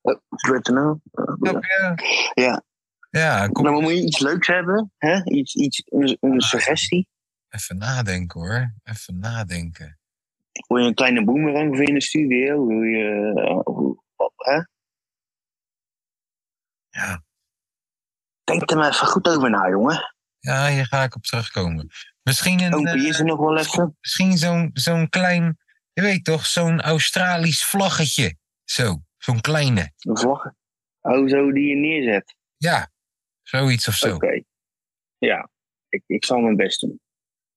Speaker 3: Wat gebeurt er nou?
Speaker 2: Snap je?
Speaker 3: Ja.
Speaker 2: Ja, kom
Speaker 3: Nou, maar moet je iets leuks hebben? Hè? Iets, iets, een, een suggestie?
Speaker 2: even nadenken hoor. Even nadenken.
Speaker 3: Wil je een kleine boemerang voor in de studio? Wil je. eh, hoe- wat, hè?
Speaker 2: Ja.
Speaker 3: Denk er maar even goed over na, jongen.
Speaker 2: Ja, hier ga ik op terugkomen. Misschien, een,
Speaker 3: Open,
Speaker 2: eh,
Speaker 3: Oh, is er nog wel even.
Speaker 2: misschien zo'n zo'n klein, je weet toch, zo'n Australisch vlaggetje. Zo, zo'n kleine.
Speaker 3: Een vlag. Oh, zo die je neerzet.
Speaker 2: Ja, zoiets of zo.
Speaker 3: Oké. Ja, ik, ik zal mijn best doen.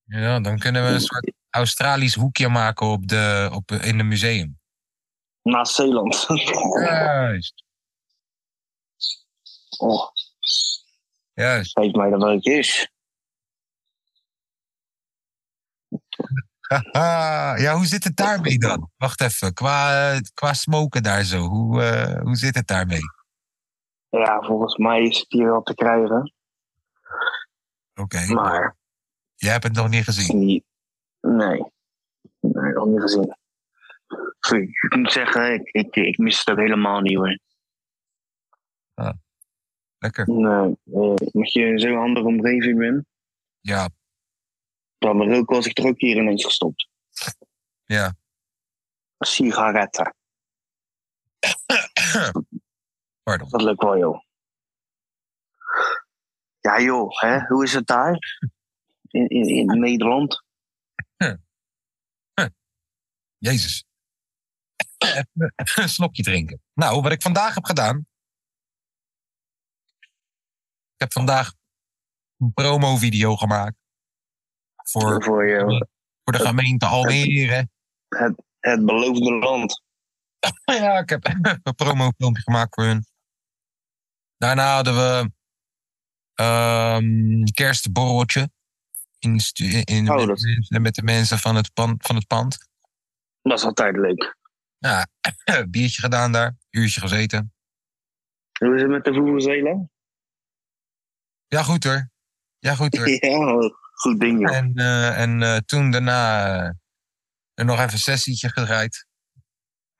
Speaker 2: Ja, dan kunnen we een soort Australisch hoekje maken op de, op, in het museum.
Speaker 3: Naast Zeeland. [laughs]
Speaker 2: Juist,
Speaker 3: Oh,
Speaker 2: juist.
Speaker 3: geef mij dan wel het is.
Speaker 2: Ah, ja, hoe zit het daarmee dan? Wacht even, qua, eh, qua smoken daar zo, hoe, eh, hoe zit het daarmee?
Speaker 3: Ja, volgens mij is het hier wel te krijgen.
Speaker 2: Oké,
Speaker 3: Maar.
Speaker 2: jij hebt het nog niet gezien.
Speaker 3: Die, nee. Nee, nog niet gezien. Sorry, Ik moet zeggen, ik, ik, ik mis het ook helemaal niet hoor.
Speaker 2: Lekker.
Speaker 3: Nee, eh, omdat je in zo'n andere omgeving bent.
Speaker 2: Ja,
Speaker 3: Dan de rook was ik er ook hier ineens gestopt.
Speaker 2: Ja.
Speaker 3: Sigaretten.
Speaker 2: pardon.
Speaker 3: Dat lukt wel, joh. Ja, joh. Hè? Hoe is het daar? In, in, in Nederland?
Speaker 2: Jezus. Even een slokje drinken. Nou, wat ik vandaag heb gedaan. Ik heb vandaag een promovideo gemaakt. Voor,
Speaker 3: Voor je,
Speaker 2: voor de gemeente Almere.
Speaker 3: het beloofde land.
Speaker 2: Nou Ja, ik heb [laughs] een promofilmpje gemaakt voor hun. Daarna hadden we ehm, een kerstborreltje. In, de stu- in,
Speaker 3: Oh,
Speaker 2: met,
Speaker 3: dat-
Speaker 2: de mensen- met de mensen van het, pan, van het pand.
Speaker 3: Dat is altijd leuk.
Speaker 2: Biertje gedaan daar, uurtje gezeten.
Speaker 3: Hoe is het met de Vuvuzela?
Speaker 2: Ja, goed hoor. Ja, goed hoor.
Speaker 3: [laughs] Ja, goed ding, joh.
Speaker 2: En, eh, en eh, toen daarna eh, er nog even een sessietje gedraaid.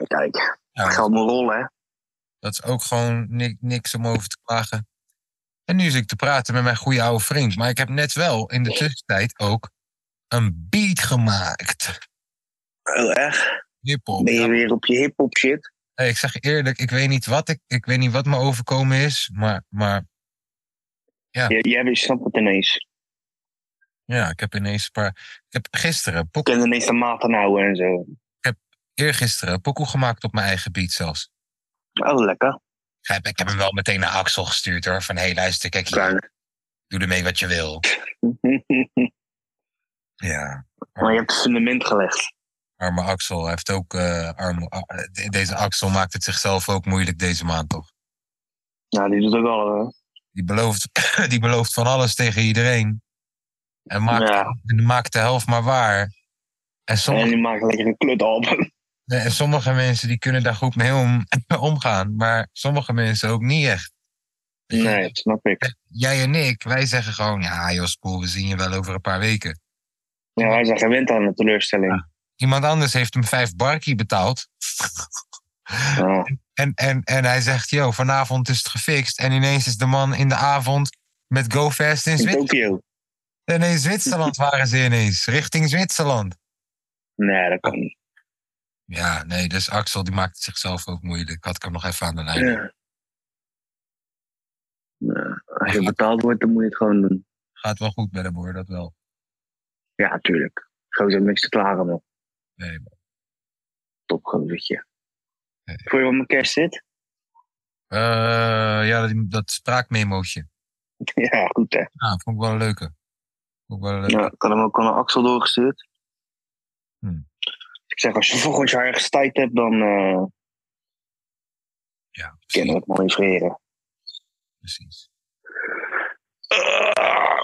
Speaker 3: Kijk,
Speaker 2: Ja,
Speaker 3: geld mijn rol, hè?
Speaker 2: Dat is ook gewoon ni- niks om over te klagen. En nu zit ik te praten met mijn goede oude vriend. Maar ik heb net wel in de tussentijd ook een beat gemaakt.
Speaker 3: Oh, echt?
Speaker 2: Hiphop.
Speaker 3: Ben je weer op je hip-hop shit?
Speaker 2: Hey, ik zeg je eerlijk, ik weet niet wat, ik, ik weet niet wat me overkomen is. Maar, maar
Speaker 3: J- Jij weer snapt het ineens.
Speaker 2: ja, ik heb ineens een paar... Ik heb gisteren,
Speaker 3: Ik
Speaker 2: pokoe,
Speaker 3: kan ineens de maten houden en zo.
Speaker 2: eergisteren, pokoe gemaakt op mijn eigen beat zelfs.
Speaker 3: Oh, lekker.
Speaker 2: Ik heb, ik heb hem wel meteen naar Axel gestuurd hoor. Van hé, hey, luister, kijk hier,
Speaker 3: Klein.
Speaker 2: doe ermee wat je wil. Ja.
Speaker 3: [laughs] Maar je hebt het fundament gelegd.
Speaker 2: Arme Axel heeft ook. eh, arme, a- de- deze Axel maakt het zichzelf ook moeilijk deze maand, toch?
Speaker 3: Nou, die doet ook al. hè?
Speaker 2: Die belooft, [clears throat] die belooft van alles tegen iedereen. En maakt,
Speaker 3: Ja.
Speaker 2: en maakt de helft maar waar. En
Speaker 3: En
Speaker 2: sommige,
Speaker 3: die maakt lekker een klutalbum.
Speaker 2: en sommige mensen die kunnen daar goed mee om, [laughs] omgaan, maar sommige mensen ook niet echt. Weet je,
Speaker 3: Nee, dat snap ik.
Speaker 2: Jij en ik, wij zeggen gewoon: ja, joh, spoel, we zien je wel over een paar weken.
Speaker 3: Ja, wij zijn gewend aan de teleurstelling.
Speaker 2: Iemand anders heeft hem vijf barkie betaald.
Speaker 3: Ja.
Speaker 2: En, en, en hij zegt, yo, vanavond is het gefixt. En ineens is de man in de avond met GoFest in,
Speaker 3: In [laughs]
Speaker 2: Zwit-
Speaker 3: Tokio.
Speaker 2: en in Zwitserland waren ze ineens. Richting Zwitserland.
Speaker 3: Nee, dat kan niet.
Speaker 2: Ja, nee, dus Axel die maakt het zichzelf ook moeilijk. Had ik hem nog even aan de lijn.
Speaker 3: Ja. Nou, Als je betaald wordt, dan moet je het gewoon doen.
Speaker 2: Gaat wel goed met hem hoor, dat wel.
Speaker 3: Ja, tuurlijk. Gozer, heeft niks te klagen, man.
Speaker 2: Nee,
Speaker 3: Top, gozertje.
Speaker 2: Nee.
Speaker 3: Voor je wat mijn kerst zit?
Speaker 2: Eh, ja, dat, dat spraakmemootje.
Speaker 3: [laughs] Ja, goed hè.
Speaker 2: Ja, vond ik wel een leuke. Vond ik wel een leuke.
Speaker 3: Ja, ik had hem ook aan Axel doorgestuurd.
Speaker 2: Hmm.
Speaker 3: Ik zeg, als je volgend jaar ergens tijd hebt, dan eh
Speaker 2: Ja,
Speaker 3: kunnen
Speaker 2: precies.
Speaker 3: we het mooi vreren.
Speaker 2: precies.
Speaker 3: Ah.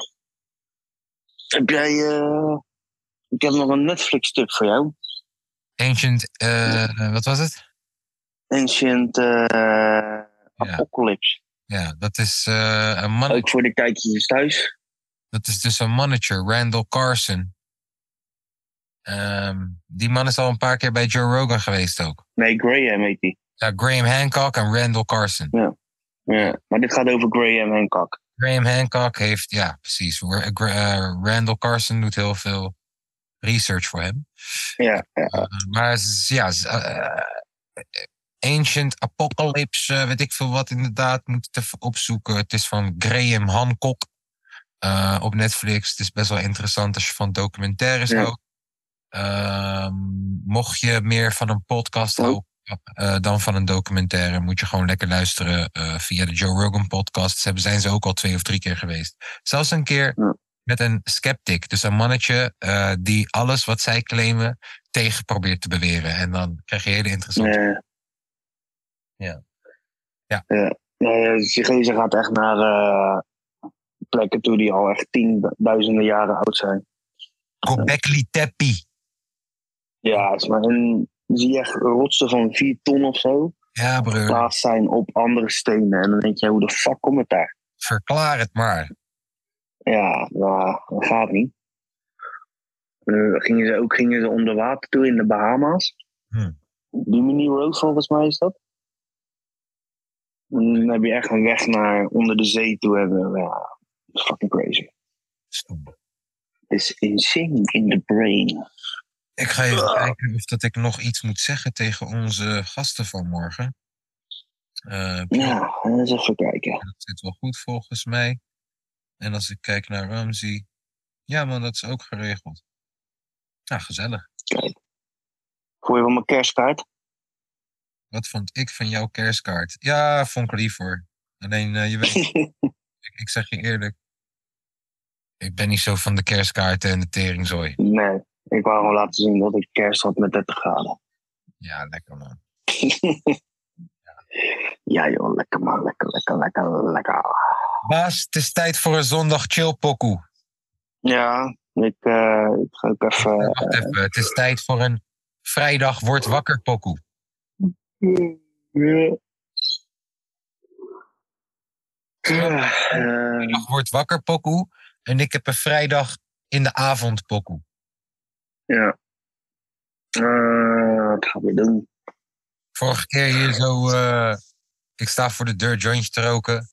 Speaker 3: heb jij... eh, ik heb nog een Netflix-tip voor jou.
Speaker 2: Ancient, eh, wat was het?
Speaker 3: Ancient eh, Apocalypse.
Speaker 2: Ja, dat is, eh, een man,
Speaker 3: Ook voor de kijkjes thuis.
Speaker 2: dat is dus een manager, Randall Carson. Ehm, die man is al een paar keer bij Joe Rogan geweest ook.
Speaker 3: Nee, Graham heet die.
Speaker 2: Ja, Graham Hancock en Randall Carson.
Speaker 3: Ja. Maar dit gaat over Graham Hancock.
Speaker 2: Graham Hancock heeft, ja, precies. Ra- Gra- eh, Randall Carson doet heel veel research voor hem.
Speaker 3: Ja, ja.
Speaker 2: Uh, maar z- ja, z- eh, Ancient Apocalypse, eh, weet ik veel wat inderdaad, moet het even opzoeken. Het is van Graham Hancock eh, op Netflix. Het is best wel interessant als je van documentaires
Speaker 3: Ja.
Speaker 2: houdt. Ehm, mocht je meer van een podcast
Speaker 3: Oh.
Speaker 2: houden eh, dan van een documentaire, moet je gewoon lekker luisteren eh, via de Joe Rogan podcast. Ze hebben- zijn ze ook al twee of drie keer geweest. Zelfs een keer
Speaker 3: Ja.
Speaker 2: met een sceptic, dus een mannetje eh, die alles wat zij claimen tegen probeert te beweren. En dan krijg je hele interessante.
Speaker 3: Eh.
Speaker 2: Ja. Ja.
Speaker 3: Nee, eh, die gozer gaat echt naar eh, plekken toe die al echt tienduizenden jaren oud zijn.
Speaker 2: Gobekli Tepi.
Speaker 3: Ja, is maar en zie je echt rotsen van 4 ton of zo
Speaker 2: Ja, broer.
Speaker 3: geplaatst zijn op andere stenen. En dan denk je, hoe de fuck komt het daar?
Speaker 2: Verklaar het maar.
Speaker 3: Ja, nou, dat gaat niet. Eh, gingen ze ook gingen ze onder water toe in de Bahama's.
Speaker 2: Hmm.
Speaker 3: Bimini Road volgens mij is dat. En dan heb je echt een weg naar onder de zee toe. En, eh, ja, dat is fucking crazy.
Speaker 2: Stom.
Speaker 3: is insane in the brain.
Speaker 2: Ik ga even kijken of dat ik nog iets moet zeggen tegen onze gasten van morgen. Eh,
Speaker 3: Ja, eens even kijken.
Speaker 2: dat zit wel goed volgens mij. En als ik kijk naar Ramsey. Ja, man, dat is ook geregeld. Nou, gezellig.
Speaker 3: Gooi van mijn kerstkaart.
Speaker 2: Wat vond ik van jouw kerstkaart? Ja, vond ik lief hoor. Alleen, eh, je weet, ik, ik zeg je eerlijk. Ik ben niet zo van de kerstkaarten en de teringzooi.
Speaker 3: nee, ik wou gewoon laten zien dat ik kerst had met 30 graden.
Speaker 2: Ja, lekker man.
Speaker 3: Ja joh, lekker man, lekker, lekker, lekker, lekker.
Speaker 2: Baas, het is tijd voor een zondag chill pokoe.
Speaker 3: Ja, ik, eh, ik ga ook even...
Speaker 2: Wacht even, het is tijd voor een vrijdag word wakker pokoe.
Speaker 3: Eh,
Speaker 2: Vrijdag word wakker pokoe en ik heb een vrijdag in de avond pokoe.
Speaker 3: ja. Eh, wat gaan we doen?
Speaker 2: Vorige keer hier zo, eh, ik sta voor de deur jointje te roken.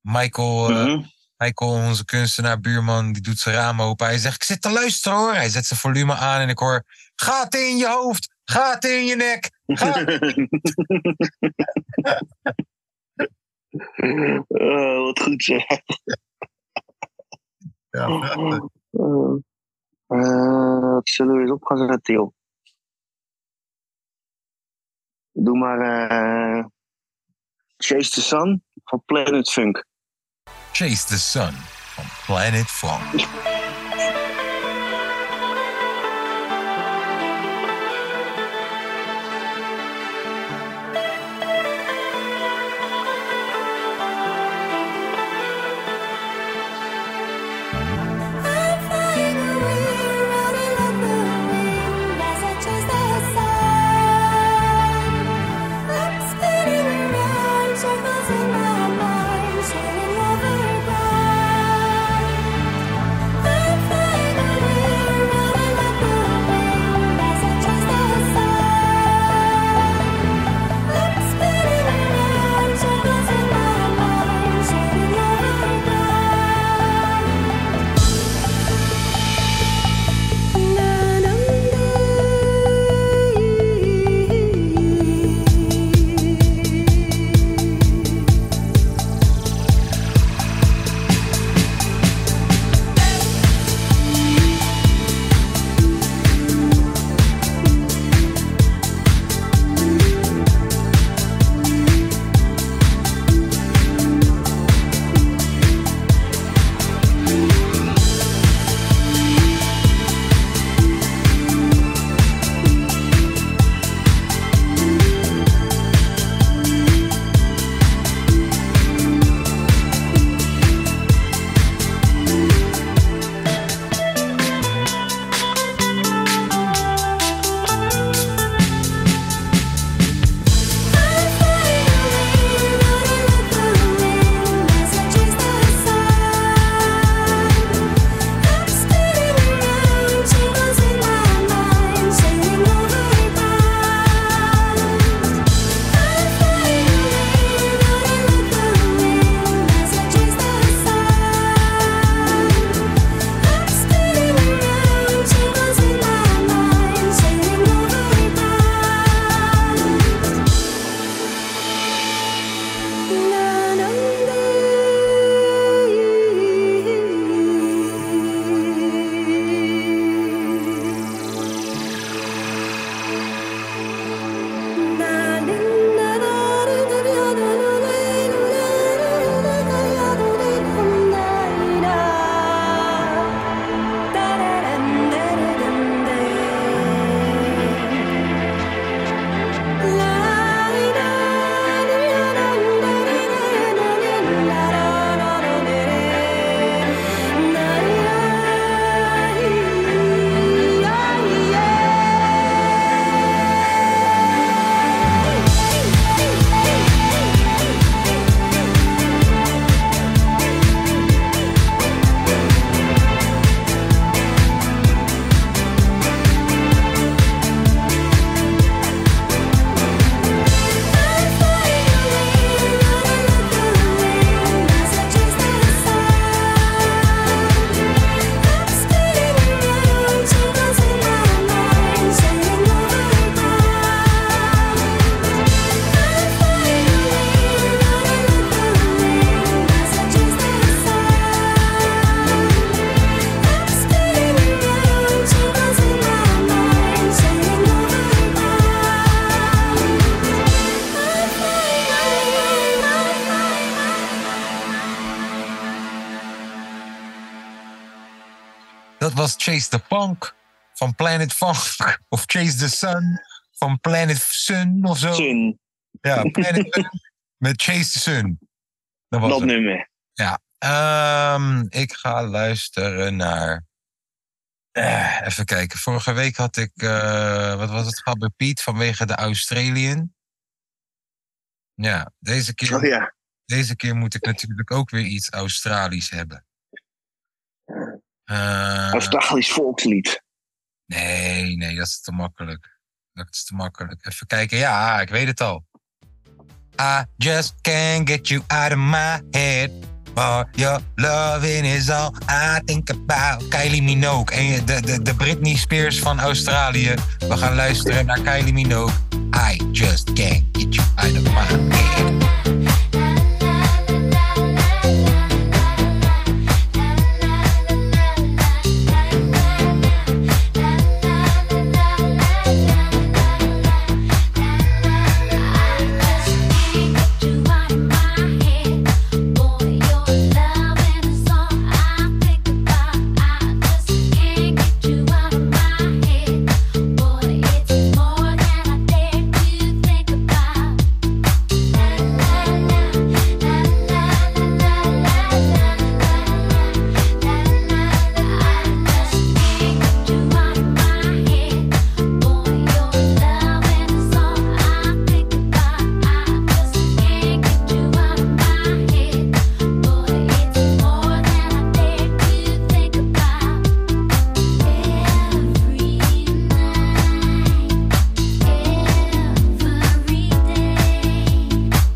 Speaker 2: Michael, eh,
Speaker 3: Mhm.
Speaker 2: Michael, onze kunstenaar, buurman, die doet zijn raam open. Hij zegt, ik zit te luisteren hoor. Hij zet zijn volume aan en ik hoor, gaat in je hoofd, gaat in je nek. Gaat.
Speaker 3: Eh, wat goed zeg. Eh, eh, wat zullen we eens op gaan zetten, joh? Doe maar eh, Chase the Sun van Planet Funk.
Speaker 2: Chase the Sun van Planet Funk.
Speaker 4: I'm
Speaker 2: Chase the Punk van Planet Funk. Of Chase the Sun van Planet Sun of zo.
Speaker 3: Sun,
Speaker 2: Ja, Planet Sun met Chase the Sun. Dat was
Speaker 3: dat
Speaker 2: het.
Speaker 3: nummer.
Speaker 2: Ehm, ik ga luisteren naar... Eh, even kijken. Vorige week had ik... eh, wat was het? Gabby Piet vanwege de Australian. Ja, deze keer,
Speaker 3: Oh ja.
Speaker 2: deze keer moet ik natuurlijk ook weer iets Australisch hebben. Eh,
Speaker 3: Australisch volkslied.
Speaker 2: Nee, nee, dat is te makkelijk. Dat is te makkelijk. Even kijken. Ja, ik weet het al. I just can't get you out of my head. For your loving is all I think about. Kylie Minogue. En de, de, de Britney Spears van Australië. We gaan luisteren naar Kylie Minogue. I just can't get you out of my head.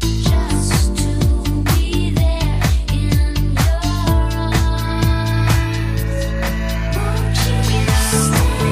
Speaker 4: Just to be there in your arms. Won't you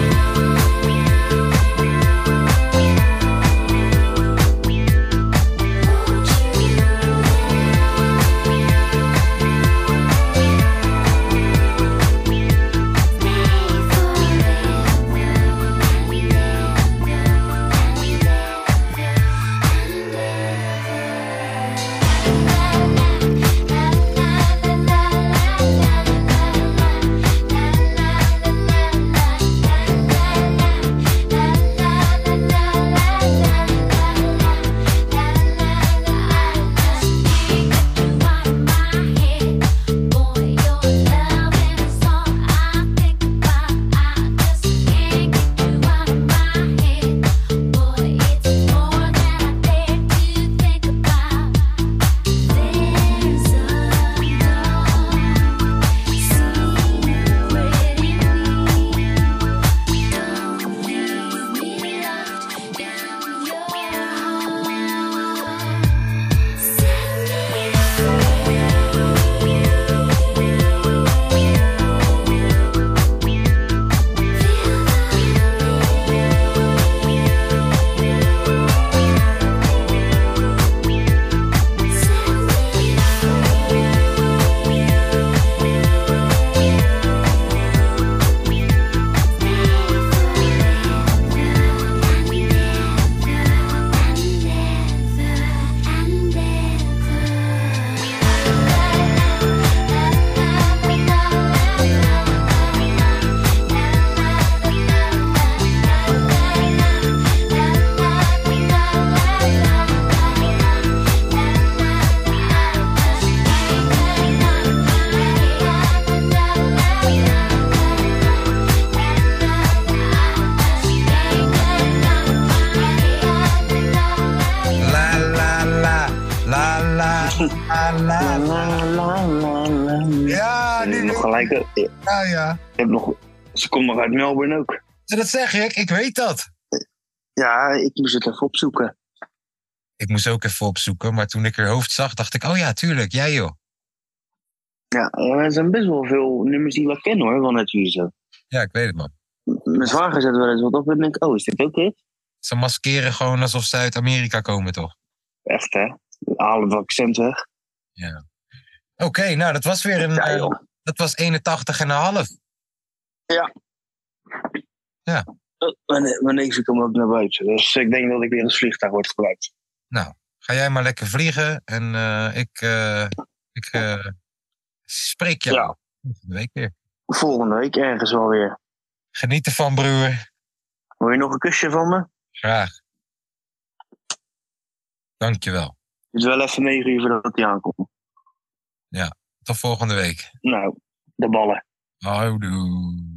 Speaker 2: La la la. La la la la.
Speaker 3: La, [laughs] la, la, la, la.
Speaker 2: Ja,
Speaker 3: En
Speaker 2: nu
Speaker 3: nog
Speaker 2: weet
Speaker 3: gelijk, eh, je
Speaker 2: ik- ja, ja.
Speaker 3: hebt nog, ze komt nog uit Melbourne ook.
Speaker 2: Ja, Dat zeg ik, ik weet dat.
Speaker 3: Ja, ik moest het even opzoeken.
Speaker 2: Ik moest ook even opzoeken, maar toen ik haar hoofd zag, dacht ik, oh ja, tuurlijk, jij joh.
Speaker 3: Ja, eh, er zijn best wel veel nummers die we kennen hoor, van het hier zo.
Speaker 2: Ja, ik weet het man.
Speaker 3: Mijn zwager zet wel eens wat op en denk ik, oh, is dit ook dit?
Speaker 2: Ze maskeren gewoon alsof ze uit Amerika komen, toch?
Speaker 3: Echt hè? Halen het accent weg.
Speaker 2: Oké, nou, dat was weer een...
Speaker 3: Ja,
Speaker 2: eh,
Speaker 3: joh.
Speaker 2: dat was 81 en een half.
Speaker 3: Oh, Mijn mijn neefje komt ook naar buiten. Dus ik denk dat ik weer als vliegtuig word gebruikt.
Speaker 2: Ga jij maar lekker vliegen en eh, ik, eh, ik eh, spreek jou
Speaker 3: Ja.
Speaker 2: volgende week weer.
Speaker 3: Volgende week ergens wel weer.
Speaker 2: Geniet ervan, broer.
Speaker 3: Wil je nog een kusje van me?
Speaker 2: Graag. Dankjewel.
Speaker 3: Het is wel even negen uur voordat hij aankomt.
Speaker 2: Tot volgende week.
Speaker 3: Nou, de ballen.
Speaker 2: Houdoe.